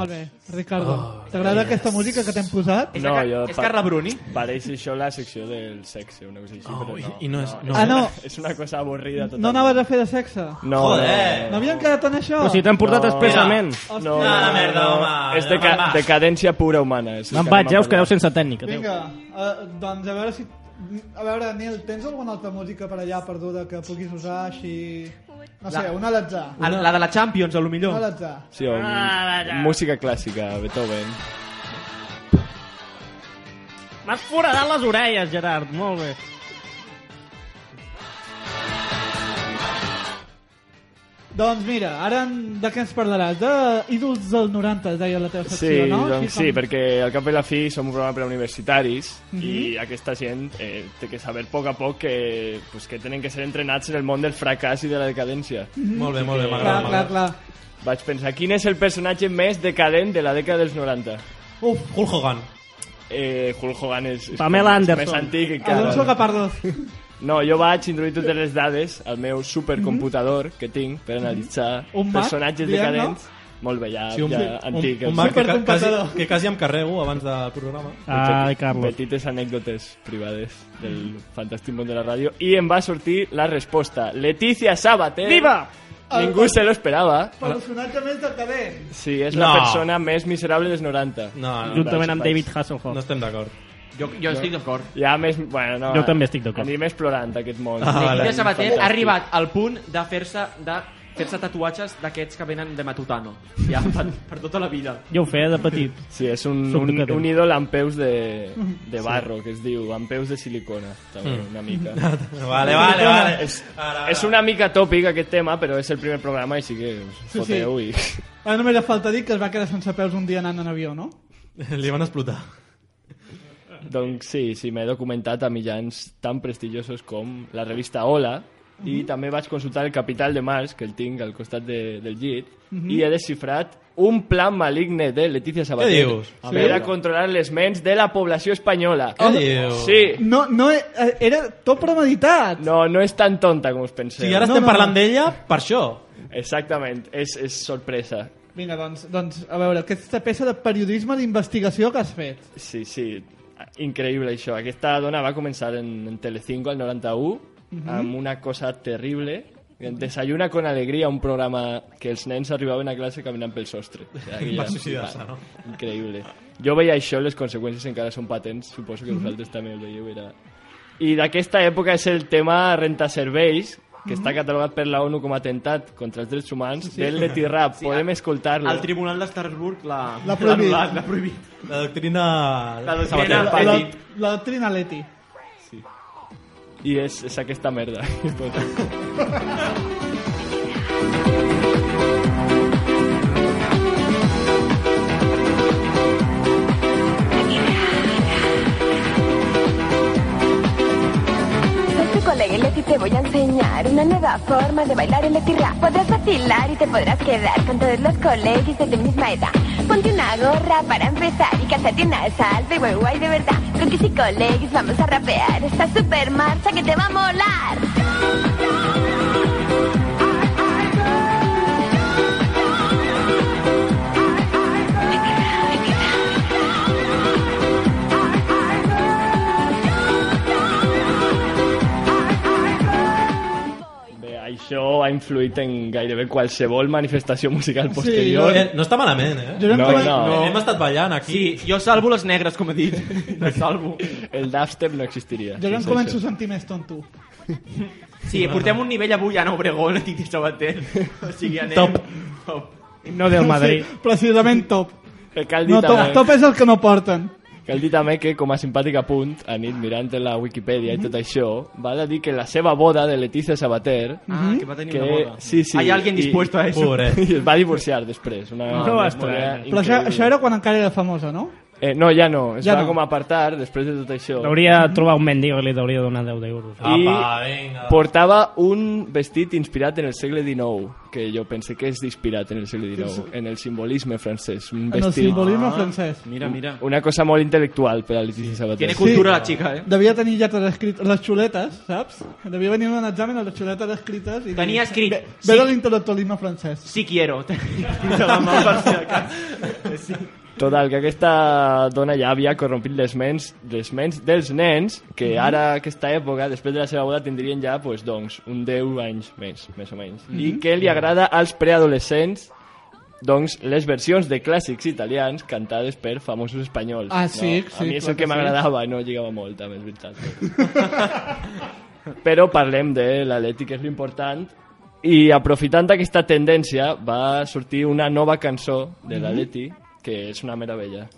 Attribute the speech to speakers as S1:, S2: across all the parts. S1: Molt bé, Ricardo. Oh, T'agrada aquesta música que t'hem posat?
S2: És,
S3: No,
S2: la,
S3: jo
S2: és
S3: pa-
S2: Carla Bruni?
S3: Pareix això la secció del sexe, una cosa així,
S4: Oh,
S3: però
S4: i-
S3: no.
S4: i no és- no.
S1: Ah, no.
S3: És una cosa avorrida. Total.
S1: No anaves a fer de sexe?
S3: No,
S4: Joder.
S1: No havien quedat en això?
S5: Però si t'han portat expressament.
S3: No,
S1: Hòstia.
S3: no, no,
S1: Ah,
S3: no,
S4: merda, home.
S3: És deca
S4: Me'n vaig.
S3: decadència pura humana. és el
S5: Me'n
S3: que
S5: vaig,
S3: anem a
S5: ja us
S3: parlar.
S5: quedeu sense tècnica. adéu.
S1: Vinga, uh, doncs a veure si... A veure, Nil, tens alguna altra música per allà perduda que puguis usar així... No sé,
S2: La-
S1: una l'atzar.
S2: El- La de la Champions, a lo
S1: Una
S2: millor.
S1: l'atzar.
S3: Sí, o, música clàssica, Beethoven.
S5: M'has foradat les orelles, Gerard, molt bé.
S1: Doncs mira, ara en- de què ens parlaràs? De ídols del 90, deia la teva secció,
S3: Sí,
S1: no?
S3: doncs
S1: com-
S3: sí, perquè al cap i la fi som un programa per a universitaris
S5: Mhm.
S3: i aquesta gent eh, té que saber a poc a poc que, pues, que tenen que ser entrenats en el món del fracàs i de la decadència.
S4: Molt bé, molt bé,
S1: Clar,
S4: m'agrada.
S1: clar,
S4: m'agrada.
S1: clar.
S3: Vaig pensar, quin és el personatge més decadent de la dècada dels 90?
S4: Uf, Hulk Hogan.
S3: Eh, Hulk Hogan és, és
S5: Pamela
S3: com- és
S5: Anderson.
S3: més antic
S1: Alonso
S3: encara.
S1: Capardos.
S3: No, jo vaig introduir totes les dades al meu
S4: Mhm.
S3: supercomputador que tinc per analitzar
S1: Un Mac,
S3: personatges
S1: diem, no?
S3: decadents. Molt bé, ja,
S4: Sí, un,
S3: ja
S4: un,
S3: antic.
S4: un,
S3: em
S4: un Mac Ah, que, ca- quasi,
S1: Supercomputador.
S4: que quasi em carrego abans del programa.
S5: Ai, Carlos.
S3: Petites anècdotes privades del fantàstic món de la ràdio. I em va sortir la resposta. Leticia Sabater.
S5: Viva!
S3: Ningú se lo esperava.
S1: Personatge més decadent.
S3: Sí, és la
S4: No.
S3: persona més miserable dels 90.
S4: No, no, no,
S5: Juntament amb David Hasselhoff.
S4: no estem d'acord.
S2: Jo, jo estic d'acord.
S3: Ja més... Bueno, no,
S5: Jo també estic d'acord.
S3: Anirem explorant aquest món.
S4: Ah, vale.
S2: Leticia Sabater ha
S3: Fantàstic.
S2: arribat al punt de fer-se de fer-se tatuatges d'aquests que venen de Matutano. Ja, per, per tota la vida.
S5: Jo ho feia de petit.
S3: Sí, és un,
S5: Soc
S3: un,
S5: decadent.
S3: un ídol amb peus de, de barro, que es diu, amb peus de silicona, també, una mica.
S4: Mm. Vale, vale, vale.
S3: És,
S4: Ara,
S3: és una mica tòpic aquest tema, però és el primer programa, així que us
S1: Sí,
S3: foteu sí, sí.
S1: Ara només li falta dir que es va quedar sense peus un dia anant en avió, no?
S4: Li van explotar.
S3: i... Doncs sí, sí, m'he documentat a mitjans tan prestigiosos com la revista Hola, i també vaig consultar el Capital de Mars, que el tinc al costat de, del llit, i he desxifrat un plan maligne de Leticia Sabater.
S4: dius?
S3: A veure, era controlar les ments de la població espanyola.
S4: Què diu?
S3: Oh, Sí.
S1: No, no, eh, era tot premeditat.
S3: No, no és tan tonta com us
S4: O
S3: penseu.
S4: sigui, ara
S1: No,
S4: estem
S1: no,
S4: parlant
S1: no.
S4: d'ella per això.
S3: Exactament, és, és sorpresa.
S1: Vinga, doncs, doncs, a veure, aquesta peça de periodisme d'investigació que has fet.
S3: Sí, sí, increïble això. Aquesta dona va començar en, en Telecinco al 91 amb una cosa terrible. Desayuna con alegria, un programa que els nens arribaven a classe caminant pel sostre. O sigui, aquella-
S4: Va suïcidar-se, no?
S3: Increïble. Jo veia això, les conseqüències encara són patents, suposo que vosaltres també el veieu. Era... I d'aquesta època és el tema rentaserveis, que està catalogat per la ONU com a atemptat contra els drets humans, Mhm. sí, del Letirap. Sí, Podem escoltar-lo.
S2: El Tribunal d'Estrasburg l'ha
S1: L'ha prohibit.
S2: l'ha- L'ha prohibit.
S4: La doctrina...
S2: La doctrina
S4: Sabater.
S1: La,
S2: Pati.
S1: la, la doctrina Leti.
S3: I és, és aquesta merda.
S6: Soy tu colega Este Leti, te voy a enseñar una nueva forma de bailar el etirra. Podrás vacilar y te podrás quedar con todos los colegas de tu misma edad. Ponte una gorra para empezar y cásate una salve, guay, guay, de verdad. Con que si colegas vamos a rapear esta super marcha que te va a molar.
S3: Bé, això ha influït en gairebé qualsevol manifestació musical posterior.
S4: Eh, No està malament, eh?
S1: Jo no,
S3: No,
S1: no,
S3: no.
S4: Eh, Hem estat ballant aquí.
S2: Sí, jo salvo les negres, com he dit. Les salvo.
S3: El dubstep no existiria.
S1: Jo ja em
S3: sense
S1: començo a
S3: això.
S1: sentir més tonto.
S2: Sí, portem un nivell avui a Obregón, a Titi Sabater. O sigui, anem...
S5: Top.
S2: Top.
S5: Himno del Madrid.
S1: Sí, precisament top.
S3: Eh, Cal dir,
S1: No, top,
S3: també,
S1: top és el que no porten.
S3: cal dir també que, com a simpàtic apunt, a nit mirant la Wikipedia i tot això, va de dir que la seva boda de Letizia Sabater
S2: Ah, que va tenir
S3: Que-
S2: una boda.
S3: sí, sí.
S2: Hay alguien
S3: I-
S2: dispuesto eh. a eso.
S4: Pobre.
S3: i es va divorciar després. Una,
S5: No
S3: una
S5: estrany.
S3: boda
S1: Però això,
S3: increïble.
S1: això era quan encara era famosa, no?
S3: Eh, no, ja no. Es
S1: Ja
S3: ja va
S1: no.
S3: no. com apartar després de tot això.
S5: Hauria de trobar un mendigo i li hauria de donar 10 euros.
S3: I
S4: Apa, vinga.
S3: portava un vestit inspirat en el segle XIX, que jo pense que és inspirat en el segle XIX, en el simbolisme francès. Un
S1: En el
S3: vestit, Ah,
S1: simbolisme francès.
S2: Mira, mira.
S3: una cosa molt intel·lectual per a Leticia Sabater.
S2: Tiene cultura la chica, eh?
S1: Devia tenir lletres escrites, les xuletes, saps? Devia venir un examen a les xuletes escrites i...
S2: Tenia escrit,
S1: Ve,
S2: sí.
S1: ve de l'intel·lectualisme francès.
S2: Sí quiero. Tinc la mà per si de cas. Sí.
S3: Total, que aquesta dona ja havia corrompit les ments, les ments dels nens que
S1: Mhm.
S3: ara, aquesta època, després de la seva boda, tindrien ja, pues, doncs, un 10 anys més, més o menys. I
S1: Mhm.
S3: que li agrada als preadolescents doncs, les versions de clàssics italians cantades per famosos espanyols.
S1: Ah, sí,
S3: no,
S1: sí,
S3: A mi és
S1: clar
S3: el
S1: que sí.
S3: que m'agradava, no lligava molt, també, és veritat. Però parlem de l'Atleti, que és l'important, i aprofitant aquesta tendència va sortir una nova cançó de l'Atleti, que és una meravella.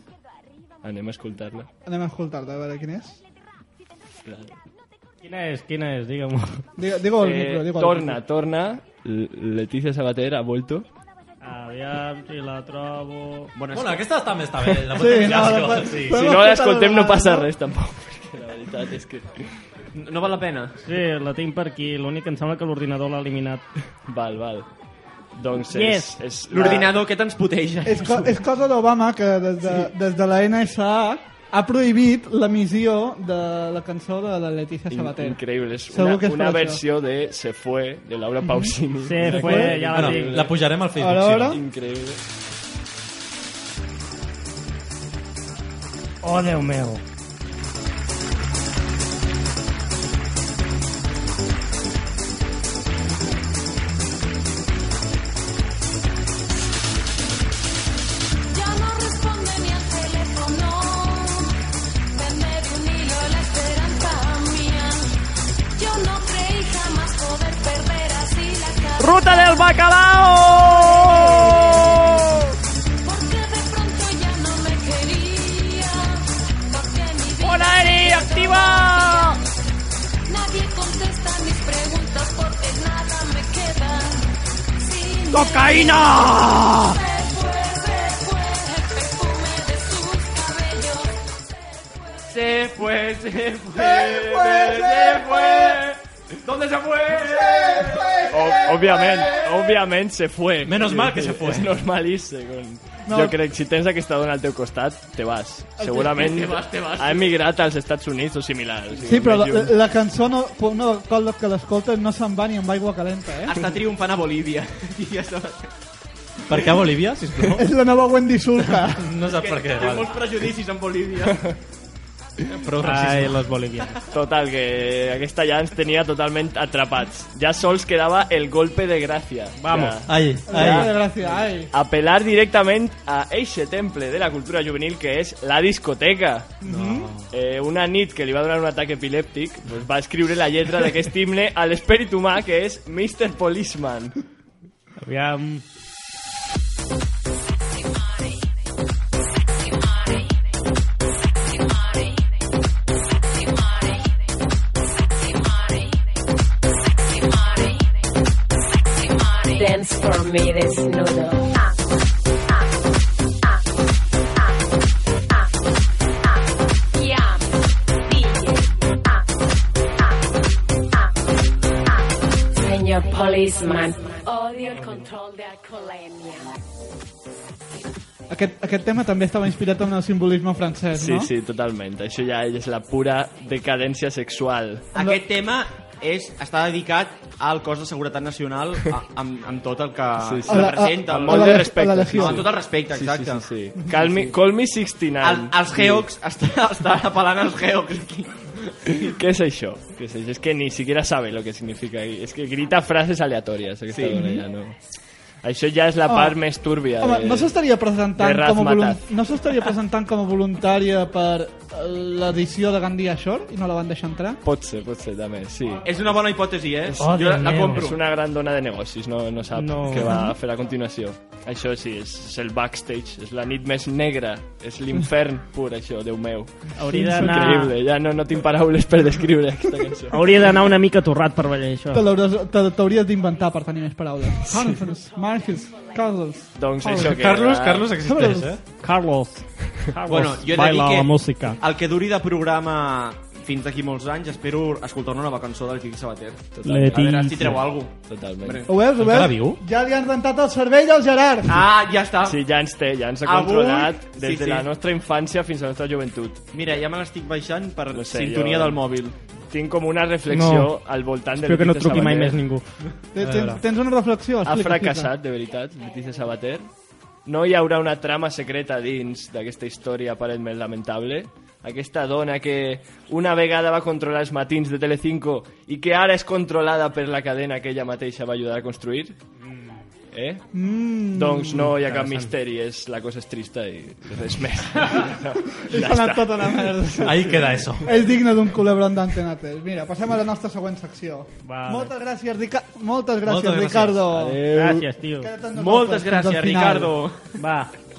S3: Anem a escoltar-la.
S1: Anem a escoltar-te, a veure quin és.
S5: Quina és? Quina és? Digue-m'ho.
S1: Digo, digo el micro,
S3: Eh,
S1: digo
S3: torna, torna. L- Leticia Sabater ha vuelto.
S5: Aviam si la trobo...
S2: Bueno,
S4: Bueno, aquesta està més està bé. La Pues,
S1: Sí,
S4: sí,
S1: no,
S4: clàssico,
S1: la-
S4: sí.
S1: Però hem
S3: Si no
S1: escoltat
S3: l'escoltem
S1: una
S3: no passa
S1: vegada, no?
S3: res, tampoc. Perquè la veritat és que...
S2: no- no val la pena.
S5: Sí, la tinc per aquí. L'únic que em sembla que l'ordinador l'ha eliminat.
S3: Val, val. Doncs
S5: Yes.
S3: és... és la-
S2: L'ordinador que ens puteja.
S1: És, co és cosa d'Obama que des de, des de la NSA ha prohibit l'emissió de la cançó de la Letícia
S3: In-
S1: Sabater.
S3: Increïble, és
S1: Segur
S3: una,
S1: que és per
S3: una
S1: això.
S3: versió de Se fue, de Laura Pausini.
S5: Se fue, ja la
S4: Bueno,
S5: tinc.
S4: la pujarem al Facebook.
S1: A
S4: sí.
S1: veure.
S3: Increïble.
S5: Oh, Déu meu.
S7: Ya no responde ni al teléfono. Vende de un hilo la esperanza mía. Yo no creí jamás poder perder así la cara.
S5: Ruta del bacalao!
S7: Porque de pronto ya no me quería. Porque mi vida
S5: Bon aire, activa!
S7: nadie contesta mis preguntas porque nada me queda. Sin
S5: Cocaïna!
S7: Se fue, se fue el perfume de sus cabellos.
S2: Se fue, se fue,
S1: Se fue, se
S2: fue. ¿Dónde se fue?
S3: O- Òbviament, òbviament se fue.
S4: Menos mal que se fue.
S3: És normalíssim.
S1: No.
S3: No. Jo crec, si tens aquesta dona al teu costat, te vas. Segurament
S2: Te vas, te vas.
S3: ha emigrat als Estats Units o similar. O sigui,
S1: Sí, però eh, la,
S3: més lluny.
S1: la cançó, no, una cosa que l'escoltes no se'n va ni amb aigua calenta, eh?
S2: Està triomfant a Bolívia. I ja està.
S4: Per què a Bolívia, sisplau?
S1: És la nova Wendy Sulca.
S4: No sap per què.
S2: Té
S4: Vale.
S2: molts prejudicis en Bolívia.
S4: Prou
S5: Ai,
S4: racisme.
S5: los bolivianos.
S1: eh.
S3: Total, que aquesta ja ens tenia totalment atrapats. Ja sols quedava el golpe de gràcia.
S5: Vamos.
S3: Ja.
S4: Ai,
S1: Ai,
S4: ai.
S1: gràcies, ai.
S3: Apelar directament a eixe temple de la cultura juvenil que és la discoteca.
S1: No.
S3: eh, una nit que li va donar un atac epilèptic, doncs va escriure la lletra d'aquest himne a l'esperit humà, que és Mr. Policeman.
S5: Aviam...
S8: Dance for me desnudo. Señor policeman, odio el control de alcoholemia.
S1: Aquest, aquest tema també estava inspirat en el simbolisme francès,
S3: Sí,
S1: no?
S3: sí, totalment. Això ja és la pura decadència sexual.
S2: Aquest tema és, està dedicat al cos de seguretat nacional a, amb, amb tot el que
S3: Sí, sí.
S2: se
S1: A la- a-
S2: representa.
S1: a
S2: el-
S1: la-
S3: Molt de
S1: a la
S3: respecte.
S1: legió.
S2: Amb tot el respecte, exacte.
S3: Sí, sí, sí. Call me, call me 69.
S2: El, els geocs, està, està apel·lant als geocs aquí.
S3: Què és això? Què és això? És que ni siquiera sabe lo que significa. I És que grita frases aleatòries, aquesta sí. dona ja, no? Això ja és la
S1: Home,
S3: part més túrbia.
S1: Home,
S3: de...
S1: no s'estaria presentant,
S3: de
S1: com a volun...
S3: Razmatat.
S1: no s'estaria presentant com a voluntària per eh, l'edició de Gandia Shore i no la van deixar entrar?
S3: Pot ser, pot ser, també, sí.
S2: És una bona hipòtesi, eh?
S5: Oh,
S2: jo la,
S5: Déu
S2: la
S5: meu.
S2: compro.
S3: És una gran dona de negocis, no, no sap
S5: No.
S3: què va fer a continuació. Això sí, és, és el backstage, és la nit més negra, és l'infern pur, això, Déu meu.
S5: Hauria
S3: És
S5: d'anar...
S3: increïble, ja no, no tinc paraules per descriure aquesta cançó.
S5: Hauria d'anar una mica torrat per ballar això.
S1: Te l'hauràs- te- T'hauries d'inventar per tenir més paraules. Hanfers, Marcus, Carles.
S3: Doncs
S1: Paul.
S3: això que
S4: Carlos,
S3: era-
S4: Carlos existeix, eh?
S5: Carlos.
S2: Bueno, jo he de dir
S5: Baila
S2: que Ah,
S5: la música.
S2: el que duri de programa fins d'aquí molts anys, espero escoltar una nova cançó del Quiqui Sabater. A veure si treu alguna cosa.
S3: Totalment.
S1: Ho veus, ho
S4: Encara
S1: veus?
S4: viu?
S1: Ja li han rentat el cervell al Gerard.
S2: Ah, ja està.
S3: Sí, ja ens té, ja ens ha
S2: Avui-
S3: controlat des
S2: sí,
S3: de
S2: sí.
S3: la nostra infància fins a la nostra joventut.
S2: Mira, ja me l'estic baixant per
S3: No sé,
S2: sintonia
S3: jo-
S2: del mòbil.
S3: Tinc com una reflexió
S5: No.
S3: al voltant de
S5: Espero que no
S3: Leticia
S5: truqui mai
S3: Sabater.
S5: més ningú.
S1: Tens- Tens, Eh, tens una reflexió?
S3: Ha
S1: Explica, explica.
S3: fracassat, de veritat, Leticia Sabater. No hi haurà una trama secreta dins d'aquesta història aparentment lamentable. Aquesta dona que una vegada va controlar els matins de Telecinco i que ara és controlada per la cadena que ella mateixa va ajudar a construir. Eh?
S1: Mm.
S3: Doncs no hi ha cap misteri, és, la cosa és trista i res més. No,
S1: He
S3: ja
S1: anat
S3: està.
S1: tota la merda.
S4: Ahí queda eso.
S1: És digne d'un culebron d'Antena 3. Mira, passem a la nostra següent secció.
S5: Vale.
S1: Moltes gràcies, Rica moltes gràcies
S4: Moltes gràcies.
S1: Ricardo.
S3: Adéu.
S5: Gràcies, tio.
S1: Queda't amb nosaltres
S2: Moltes
S1: fins al
S2: gràcies,
S1: final.
S2: Ricardo.
S5: Va,